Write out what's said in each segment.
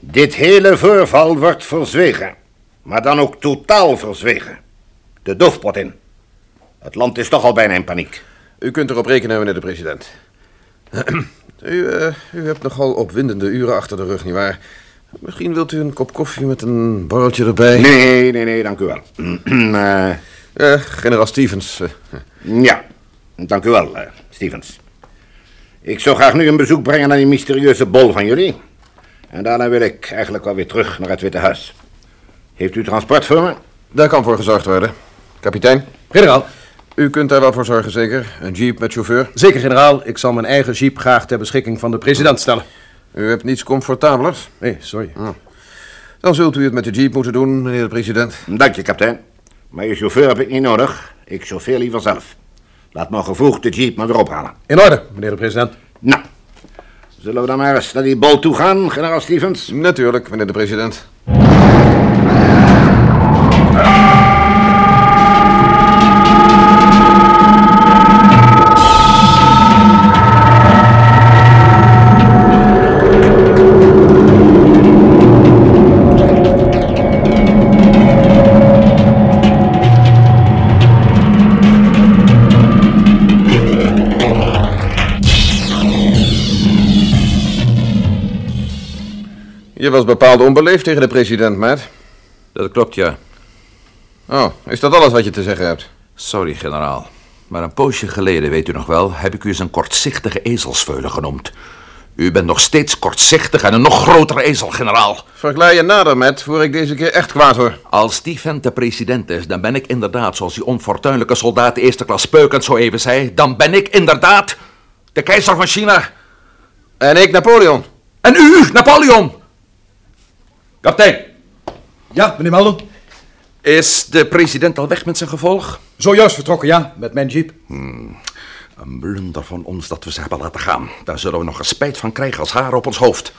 Dit hele voorval wordt verzwegen. Maar dan ook totaal verzwegen. De doofpot in. Het land is toch al bijna in paniek. U kunt erop rekenen, meneer de president. u, eh, u hebt nogal opwindende uren achter de rug, nietwaar? Misschien wilt u een kop koffie met een borreltje erbij? Nee, nee, nee, dank u wel. Eh, Eh, generaal Stevens. eh, ja, dank u wel, eh, Stevens. Ik zou graag nu een bezoek brengen aan die mysterieuze bol van jullie. En daarna wil ik eigenlijk wel weer terug naar het Witte Huis. Heeft u transport voor me? daar kan voor gezorgd worden. Kapitein, Generaal, u kunt daar wel voor zorgen, zeker? Een jeep met chauffeur? zeker generaal, ik zal mijn eigen jeep graag ter beschikking van de president stellen. U hebt niets comfortabelers? Oh. Nee, sorry. Dan zult u het met de jeep moeten doen, meneer de president. Dank je, kapitein. Maar je chauffeur heb ik niet nodig. Ik chauffeer liever zelf. Laat me gevoegd de jeep maar weer ophalen. In orde, meneer de president. Nou, zullen we dan maar eens naar die bol toe gaan, generaal Stevens? Natuurlijk, meneer de president. Je was bepaald onbeleefd tegen de president, maat. Dat klopt, ja. Oh, is dat alles wat je te zeggen hebt? Sorry, generaal. Maar een poosje geleden, weet u nog wel, heb ik u eens een kortzichtige ezelsveulen genoemd. U bent nog steeds kortzichtig en een nog grotere ezel, generaal. Verklaar je nader met, voor ik deze keer echt kwaad hoor. Als die vent de president is, dan ben ik inderdaad, zoals die onfortuinlijke soldaat de eerste klas Peukens zo even zei, dan ben ik inderdaad de keizer van China. En ik, Napoleon. En u, Napoleon! Kapitein, Ja, meneer Melden. is de president al weg met zijn gevolg? Zojuist vertrokken, ja, met mijn jeep. Een blunder van ons dat we ze hebben laten gaan. Daar zullen we nog een spijt van krijgen als haar op ons hoofd.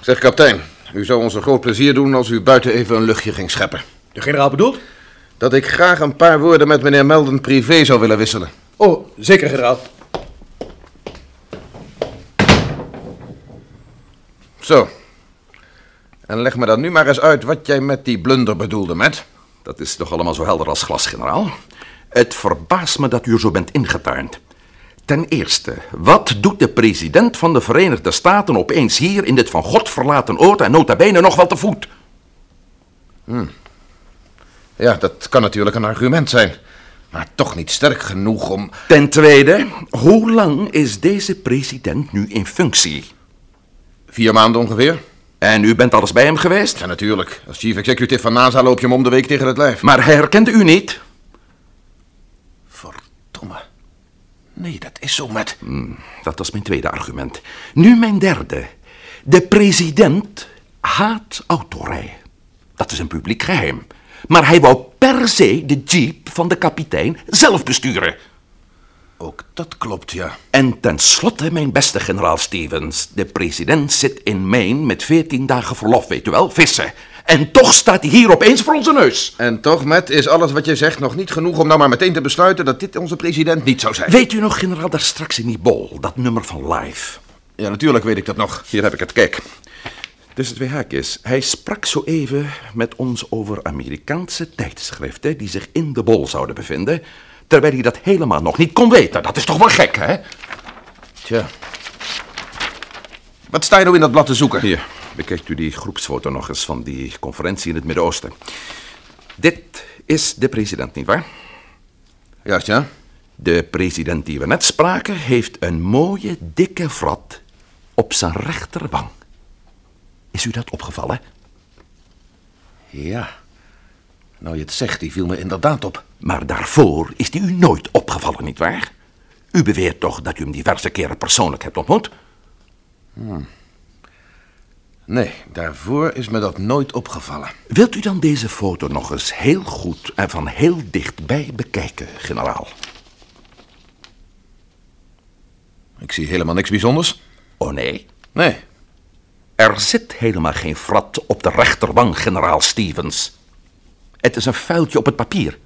Zeg, kapitein, u zou ons een groot plezier doen als u buiten even een luchtje ging scheppen. De generaal bedoelt? Dat ik graag een paar woorden met meneer Melden privé zou willen wisselen. Oh, zeker generaal. Zo. En leg me dan nu maar eens uit wat jij met die blunder bedoelde, Matt. Dat is toch allemaal zo helder als glas, generaal? Het verbaast me dat u er zo bent ingetuind. Ten eerste, wat doet de president van de Verenigde Staten opeens hier in dit van God verlaten oord en nota bene nog wel te voet? Ja, dat kan natuurlijk een argument zijn. Maar toch niet sterk genoeg om... Ten tweede, hoe lang is deze president nu in functie? Vier maanden ongeveer? En u bent alles bij hem geweest? Ja, natuurlijk. Als chief executive van NASA loop je hem om de week tegen het lijf. Maar hij herkende u niet? Verdomme. Nee, dat is zo met. dat was mijn tweede argument. Nu mijn derde. De president haat autorij. Dat is een publiek geheim. Maar hij wou per se de jeep van de kapitein zelf besturen. Ook dat klopt, ja. En tenslotte, mijn beste generaal Stevens. De president zit in Maine met 14 dagen verlof, weet u wel, vissen. En toch staat hij hier opeens voor onze neus. En toch, Matt, is alles wat je zegt nog niet genoeg om nou maar meteen te besluiten dat dit onze president niet zou zijn. Weet u nog, generaal, daar straks in die bol, dat nummer van live. Ja, natuurlijk weet ik dat nog. Hier heb ik het, kijk. Tussen twee haakjes. Hij sprak zo even met ons over Amerikaanse tijdschriften die zich in de bol zouden bevinden, terwijl hij dat helemaal nog niet kon weten. Dat is toch wel gek, hè? Tja. Wat sta je nou in dat blad te zoeken? Hier, bekijkt u die groepsfoto nog eens van die conferentie in het Midden-Oosten. Dit is de president, nietwaar? Juist, ja. De president die we net spraken heeft een mooie, dikke vrat op zijn rechterwang. Is u dat opgevallen? Ja. Nou, je het zegt, die viel me inderdaad op. Maar daarvoor is die u nooit opgevallen, nietwaar? U beweert toch dat u hem diverse keren persoonlijk hebt ontmoet? Nee, daarvoor is me dat nooit opgevallen. Wilt u dan deze foto nog eens heel goed en van heel dichtbij bekijken, generaal? Ik zie helemaal niks bijzonders. Oh nee, Nee. er zit helemaal geen frat op de rechterwang, generaal Stevens. Het is een vuiltje op het papier.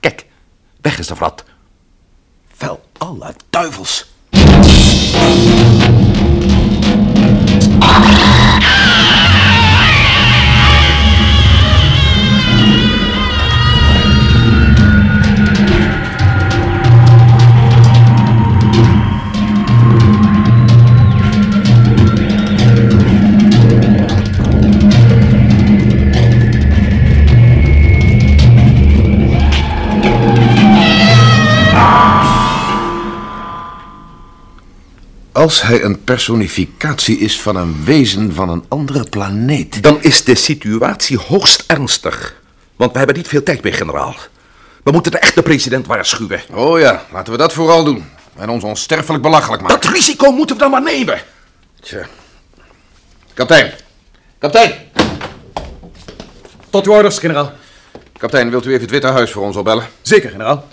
Kijk, weg is de frat. Wel, alle duivels. Als hij een personificatie is van een wezen van een andere planeet. Dan is de situatie hoogst ernstig. Want we hebben niet veel tijd meer, generaal. We moeten de echte president waarschuwen. Oh ja, laten we dat vooral doen. En ons onsterfelijk belachelijk maken. Dat risico moeten we dan maar nemen. Tja. Kaptein. Kaptein. Tot uw orders, generaal. Kaptein, wilt u even het Witte Huis voor ons opbellen? Zeker, generaal.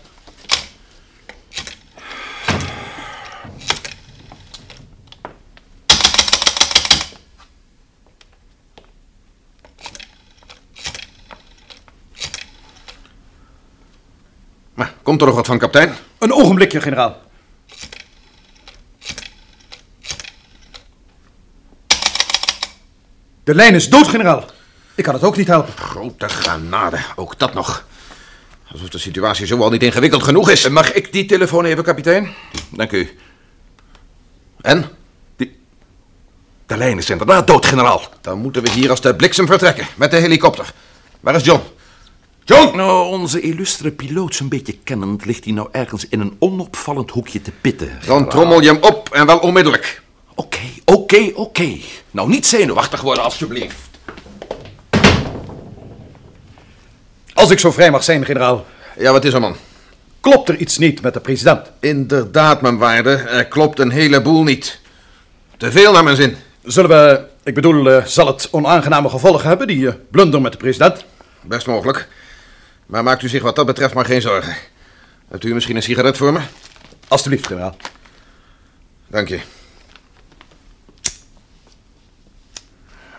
Maar, komt er nog wat van, kaptein? Een ogenblikje, generaal. De lijn is dood, generaal. Ik kan het ook niet helpen. Grote genade, ook dat nog. Alsof de situatie zo al niet ingewikkeld genoeg is. Mag ik die telefoon even, kapitein? Dank u. En? De lijn is inderdaad dood, generaal. Dan moeten we hier als de bliksem vertrekken, met de helikopter. Waar is John? John! Nou, onze illustre piloot, zo'n beetje kennend, ligt hij nou ergens in een onopvallend hoekje te pitten. Dan trommel je hem op en wel onmiddellijk. Oké, oké, oké. Nou, niet zenuwachtig worden, alstublieft. Als ik zo vrij mag zijn, generaal, Ja, wat is er, man? klopt er iets niet met de president. Inderdaad, mijn waarde, er klopt een heleboel niet. Te veel naar mijn zin. Zullen we, ik bedoel, eh, zal het onaangename gevolgen hebben, die eh, blunder met de president? Best mogelijk. Maar maakt u zich wat dat betreft maar geen zorgen. Hebt u misschien een sigaret voor me? Alsjeblieft, generaal. Dank je.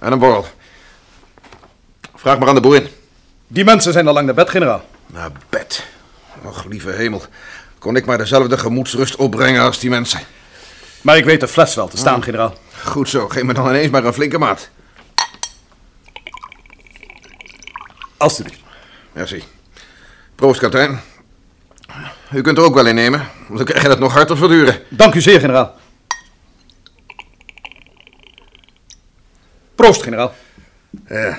En een borrel. Vraag maar aan de boerin. Die mensen zijn al lang naar bed, generaal. Naar bed. Och, lieve hemel. Kon ik maar dezelfde gemoedsrust opbrengen als die mensen. Maar ik weet de fles wel te staan, generaal. Goed zo, geef me dan ineens maar een flinke maat. Alsjeblieft. Merci. Proost, kapitein. U kunt er ook wel in nemen, want dan krijg je dat nog harder verduren. Dank u zeer, generaal. Proost, generaal. Ja,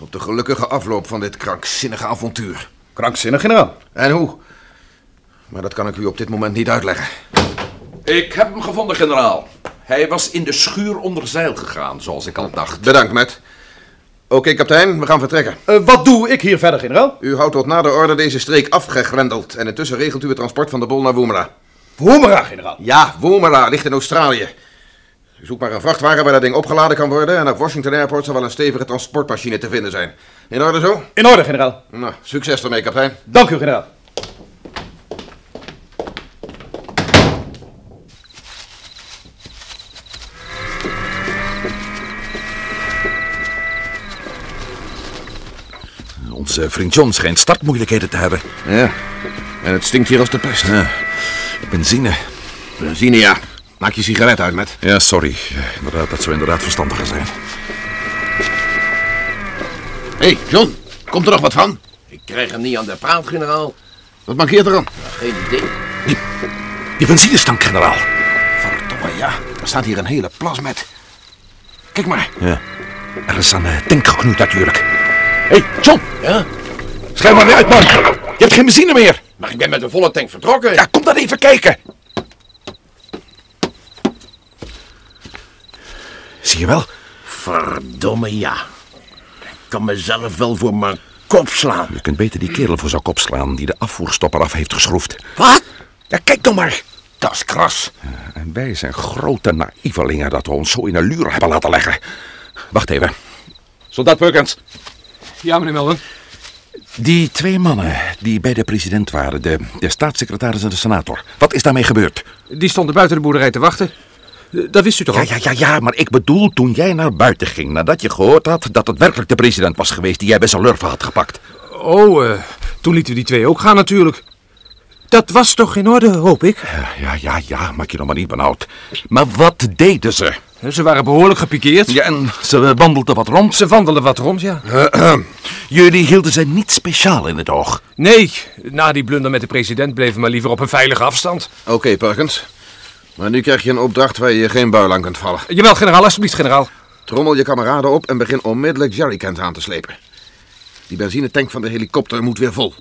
op de gelukkige afloop van dit krankzinnige avontuur. Krankzinnig, generaal. En hoe? Maar dat kan ik u op dit moment niet uitleggen. Ik heb hem gevonden, generaal. Hij was in de schuur onder zeil gegaan, zoals ik al dacht. Bedankt, Matt. Oké, kapitein, we gaan vertrekken. Eh, wat doe ik hier verder, generaal? U houdt tot nader orde deze streek afgegrendeld. En intussen regelt u het transport van de bol naar Woemela. Hoemera, generaal. Ja, Woemela ligt in Australië. U zoekt maar een vrachtwagen waar dat ding opgeladen kan worden. En op Washington Airport zal wel een stevige transportmachine te vinden zijn. In orde zo? In orde, generaal. Nou, succes ermee, kapitein. Dank u, generaal. Onze vriend John schijnt startmoeilijkheden te hebben. Ja, en het stinkt hier als de pest. Benzine. Benzine, ja. Maak je sigaret uit, Matt. Ja, sorry. Inderdaad, dat zou inderdaad verstandiger zijn. Hé, hey, John. Komt er nog wat van? Ik krijg hem niet aan de praat, generaal. Wat mankeert er aan? Geen idee. Die benzinestank, generaal. Verdomme, ja. Er staat hier een hele plas met. Kijk maar. Ja. Er is een eh, tank geknoeid natuurlijk. Hé, hey, John! Ja? Schrijf maar weer uit, man! Je hebt geen benzine meer! Maar ik ben met een volle tank vertrokken. Ja, kom dan even kijken. Zie je wel? Verdomme ja. Ik kan mezelf wel voor mijn kop slaan. Je kunt beter die kerel voor zijn kop slaan die de afvoerstopper af heeft geschroefd. Wat? Ja, kijk dan maar. Dat is kras. En wij zijn grote naïvelingen dat we ons zo in een luur hebben laten leggen. Wacht even. Soldaat Perkins. Ja, meneer Melden. Die twee mannen die bij de president waren, de, de staatssecretaris en de senator. Wat is daarmee gebeurd? Die stonden buiten de boerderij te wachten. Eh, Dat wist u toch Ja, al? ja, ja, ja, maar ik bedoel toen jij naar buiten ging nadat je gehoord had dat het werkelijk de president was geweest die jij bij zijn lurven had gepakt. Oh, eh, toen lieten we die twee ook gaan natuurlijk. Dat was toch in orde, hoop ik? Ja, Ja, ja, ja, maak je nog maar niet benauwd. Maar wat deden ze? Ze waren behoorlijk gepikeerd. Ja, en ze wandelden wat rond. Ze wandelden wat rond, ja. Jullie hielden ze niet speciaal in het oog. Nee, na die blunder met de president bleven we maar liever op een veilige afstand. Oké, Perkins. Maar nu krijg je een opdracht waar je geen buil aan kunt vallen. Jawel, generaal, alsjeblieft, generaal. Trommel je kameraden op en begin onmiddellijk jerrycans aan te slepen. Die benzinetank van de helikopter moet weer vol.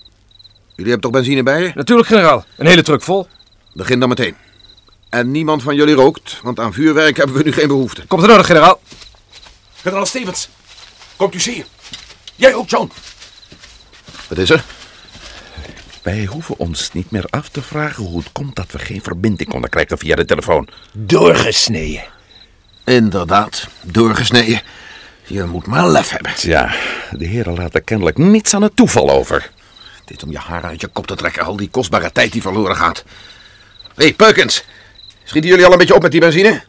Jullie hebben toch benzine bij je? Natuurlijk, generaal. Een hele truck vol. Begin dan meteen. En niemand van jullie rookt, want aan vuurwerk hebben we nu geen behoefte. Komt er nodig, generaal. Generaal Stevens, komt u zien. Jij ook, John. Wat is er? Wij hoeven ons niet meer af te vragen hoe het komt dat we geen verbinding konden krijgen via de telefoon. Doorgesneden. Inderdaad, doorgesneden. Je moet maar lef hebben. Ja, de heren laten kennelijk niets aan het toeval over. Dit om je haar uit je kop te trekken, al die kostbare tijd die verloren gaat. Hé, hey, Perkins. Schieten jullie al een beetje op met die benzine?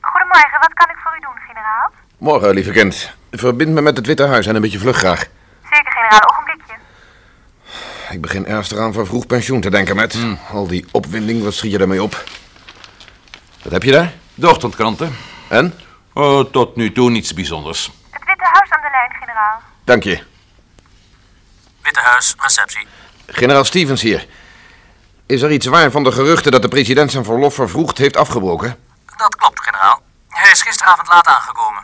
Goedemorgen, wat kan ik voor u doen, generaal? Morgen, lieve kind. Verbind me met het Witte Huis en een beetje vlug graag. Zeker, generaal, ogenblikje. Ik begin ernstig aan van vroeg pensioen te denken, met. Al die opwinding, wat schiet je daarmee op? Wat heb je daar? De ochtendkranten? En? Oh, tot nu toe niets bijzonders. Het Witte Huis aan de lijn, generaal. Dank je. Witte Huis, receptie. Generaal Stevens hier. Is er iets waar van de geruchten dat de president zijn verlof vervroegd heeft afgebroken? Dat klopt, generaal. Hij is gisteravond laat aangekomen.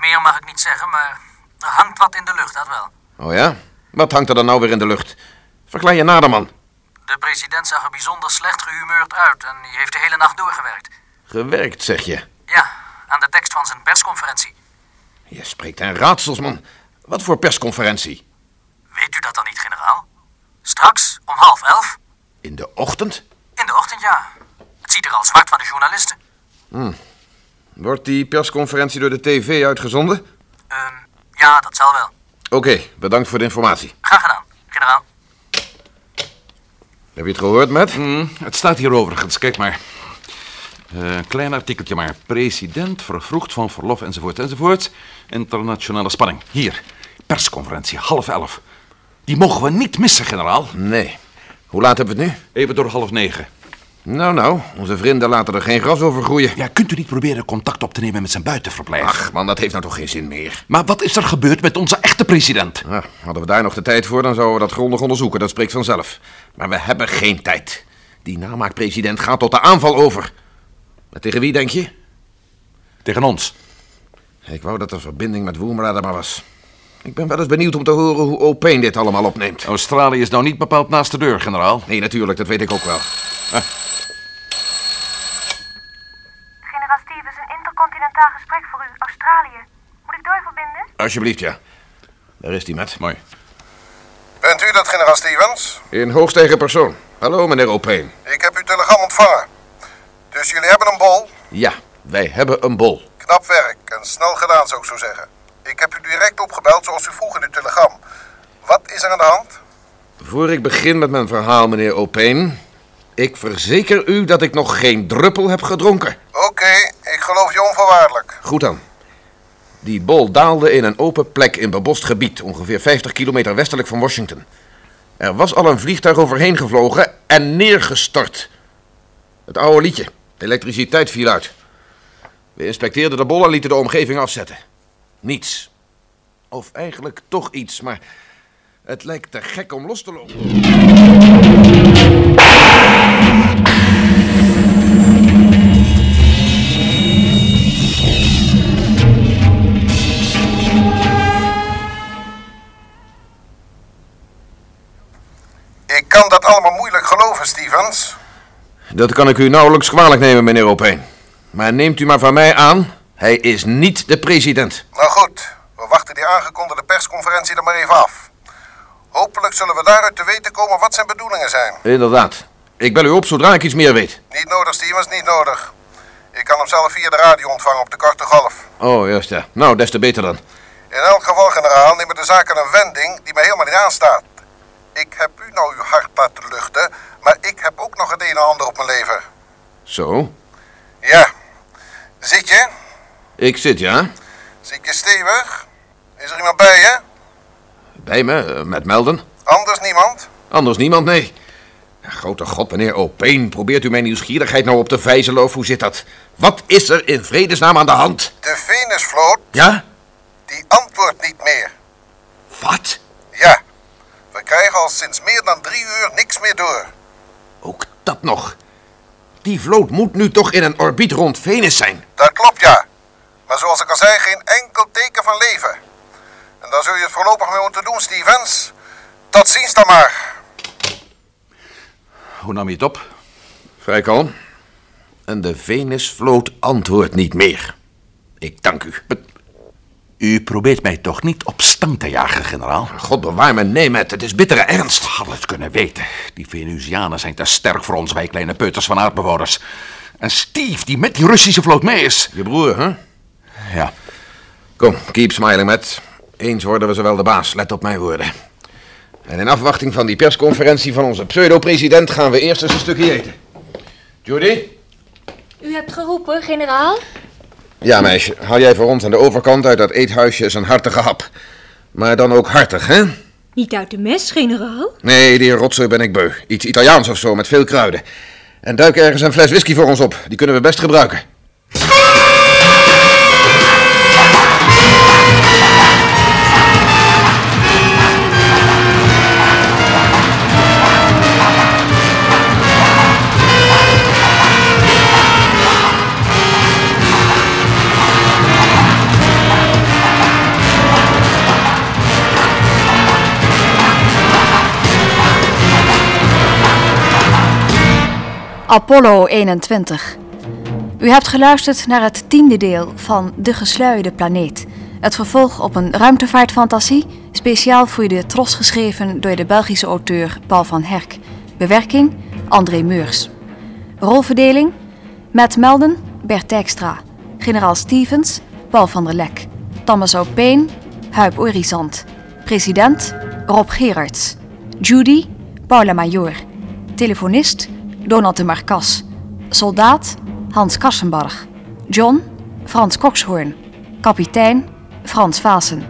Meer mag ik niet zeggen, maar er hangt wat in de lucht, dat wel. Oh ja? Wat hangt er dan nou weer in de lucht? Verklaar je nader, man. De president zag er bijzonder slecht gehumeurd uit en die heeft de hele nacht doorgewerkt. Gewerkt, zeg je. Ja, aan de tekst van zijn persconferentie. Je spreekt aan raadsels, man. Wat voor persconferentie? Weet u dat dan niet, generaal? Straks, om half elf, In de ochtend? in de ochtend, ja. Het ziet er al zwart van de journalisten. Wordt die persconferentie door de tv uitgezonden? Ehm, ja, dat zal wel. Oké, bedankt voor de informatie. Graag gedaan, generaal. Heb je het gehoord, Matt? Hm, Het staat hier overigens, kijk maar. Eh, Een klein artikeltje maar. President vervroegd van verlof enzovoort enzovoort. Internationale spanning. Hier, persconferentie, half elf. Die mogen we niet missen, generaal. Nee. Hoe laat hebben we het Even door half negen. nu? Nou, nou, onze vrienden laten er geen gras over groeien. Ja, kunt u niet proberen contact op te nemen met zijn buitenverblijf? Ach, man, dat heeft nou toch geen zin meer. Maar wat is er gebeurd met onze echte president? Ah, hadden we daar nog de tijd voor, dan zouden we dat grondig onderzoeken. Dat spreekt vanzelf. Maar we hebben geen tijd. Die namaakpresident gaat tot de aanval over. Maar tegen wie, denk je? Tegen ons. Ik wou dat de verbinding met Woemera er maar was. Ik ben wel eens benieuwd om te horen hoe Opeen dit allemaal opneemt. Australië is nou niet bepaald naast de deur, generaal. Nee, natuurlijk, dat weet ik ook wel. Generaal Stevens, een intercontinentaal gesprek voor u, Australië. Moet ik doorverbinden? Alsjeblieft, ja. Daar is die met. Mooi. Bent u dat, generaal Stevens? In hoogstegen persoon. Hallo, meneer Opeen. Ik heb uw telegram ontvangen. Dus jullie hebben een bol. Ja, wij hebben een bol. Knap werk en snel gedaan, zou ik zo zeggen. Ik heb u direct opgebeld zoals u vroeg in uw telegram. Wat is er aan de hand? Voor ik begin met mijn verhaal, meneer Opeen. Ik verzeker u dat ik nog geen druppel heb gedronken. Oké, ik geloof je onvoorwaardelijk. Goed dan. Die bol daalde in een open plek in bebost gebied, ongeveer 50 kilometer westelijk van Washington. Er was al een vliegtuig overheen gevlogen en neergestort. Het oude liedje. De elektriciteit viel uit. We inspecteerden de bollen, lieten de omgeving afzetten. Niets. Of eigenlijk toch iets, maar het lijkt te gek om los te lopen. Ik kan dat allemaal moeilijk geloven, Stevens. Dat kan ik u nauwelijks kwalijk nemen, meneer Opeen. Maar neemt u maar van mij aan, hij is niet de president. Nou goed, we wachten die aangekondigde persconferentie er maar even af. Hopelijk zullen we daaruit te weten komen wat zijn bedoelingen zijn. Inderdaad. Ik bel u op zodra ik iets meer weet. Niet nodig, Stevens, niet nodig. Ik kan hem zelf via de radio ontvangen op de korte golf. Oh, juist ja. Nou, des te beter dan. In elk geval, generaal, nemen de zaken een wending die mij helemaal niet aanstaat. Ik heb u nou uw hart laten luchten, maar ik heb ook nog het een en ander op mijn leven. Zo. Ja. Zit je? Ik zit, ja. Zit je stevig? Is er iemand bij je? Bij me, eh, met Melden. Anders niemand? Anders niemand, nee. Ja, Grote god, meneer Opeen, probeert u mijn nieuwsgierigheid nou op te vijzelen of hoe zit dat? Wat is er in vredesnaam aan de hand? De Venusvloot, Ja? die antwoordt niet meer. Wat? Ja. We krijgen al sinds meer dan drie uur niks meer door. Ook dat nog. Die vloot moet nu toch in een orbiet rond Venus zijn. Dat klopt, ja. Maar zoals ik al zei, geen enkel teken van leven. En daar zul je het voorlopig mee moeten doen, Stevens. Tot ziens dan maar. Hoe nam je het op? Vrij kalm. En de Venusvloot antwoordt niet meer. Ik dank u. U probeert mij toch niet op stang te jagen, generaal? God bewaar me, nee, met. Het is bittere ernst. We hadden het kunnen weten. Die Venusianen zijn te sterk voor ons, wij kleine peuters van aardbewoners. En Steve, die met die Russische vloot mee is. Je broer, hè? Ja, Kom, keep smiling, Matt. Eens worden we zowel de baas, let op mijn woorden. En in afwachting van die persconferentie van onze pseudo-president gaan we eerst eens een stukje eten. Judy? U hebt geroepen, generaal? Ja, meisje, haal jij voor ons aan de overkant uit dat eethuisje eens een hartige hap. Maar dan ook hartig, hè? Niet uit de mes, generaal. Nee, die rotzooi ben ik beu. Iets Italiaans of zo, met veel kruiden. En duik ergens een fles whisky voor ons op. Die kunnen we best gebruiken. Apollo 21. U hebt geluisterd naar het tiende deel van De Gesluierde Planeet. Het vervolg op een ruimtevaartfantasie, speciaal voor de Tros geschreven door de Belgische auteur Paul van Herk. Bewerking André Meurs. Rolverdeling Matt Melden, Bert Dijkstra. Generaal Stevens, Paul van der Lek. Thomas O'Peen, Huib Orizant. President Rob Gerards. Judy Paula Major. Telefonist Donald de Marcas. Soldaat Hans Kassenbarg. John Frans Kokshoorn. Kapitein Frans Vaassen.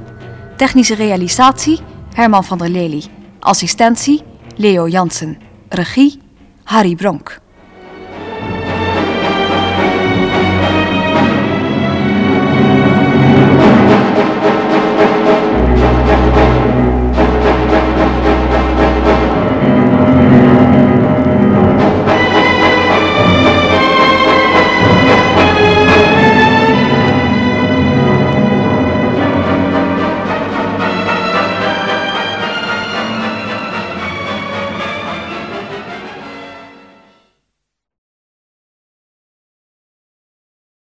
Technische realisatie Herman van der Lely. Assistentie Leo Jansen. Regie Harry Bronk.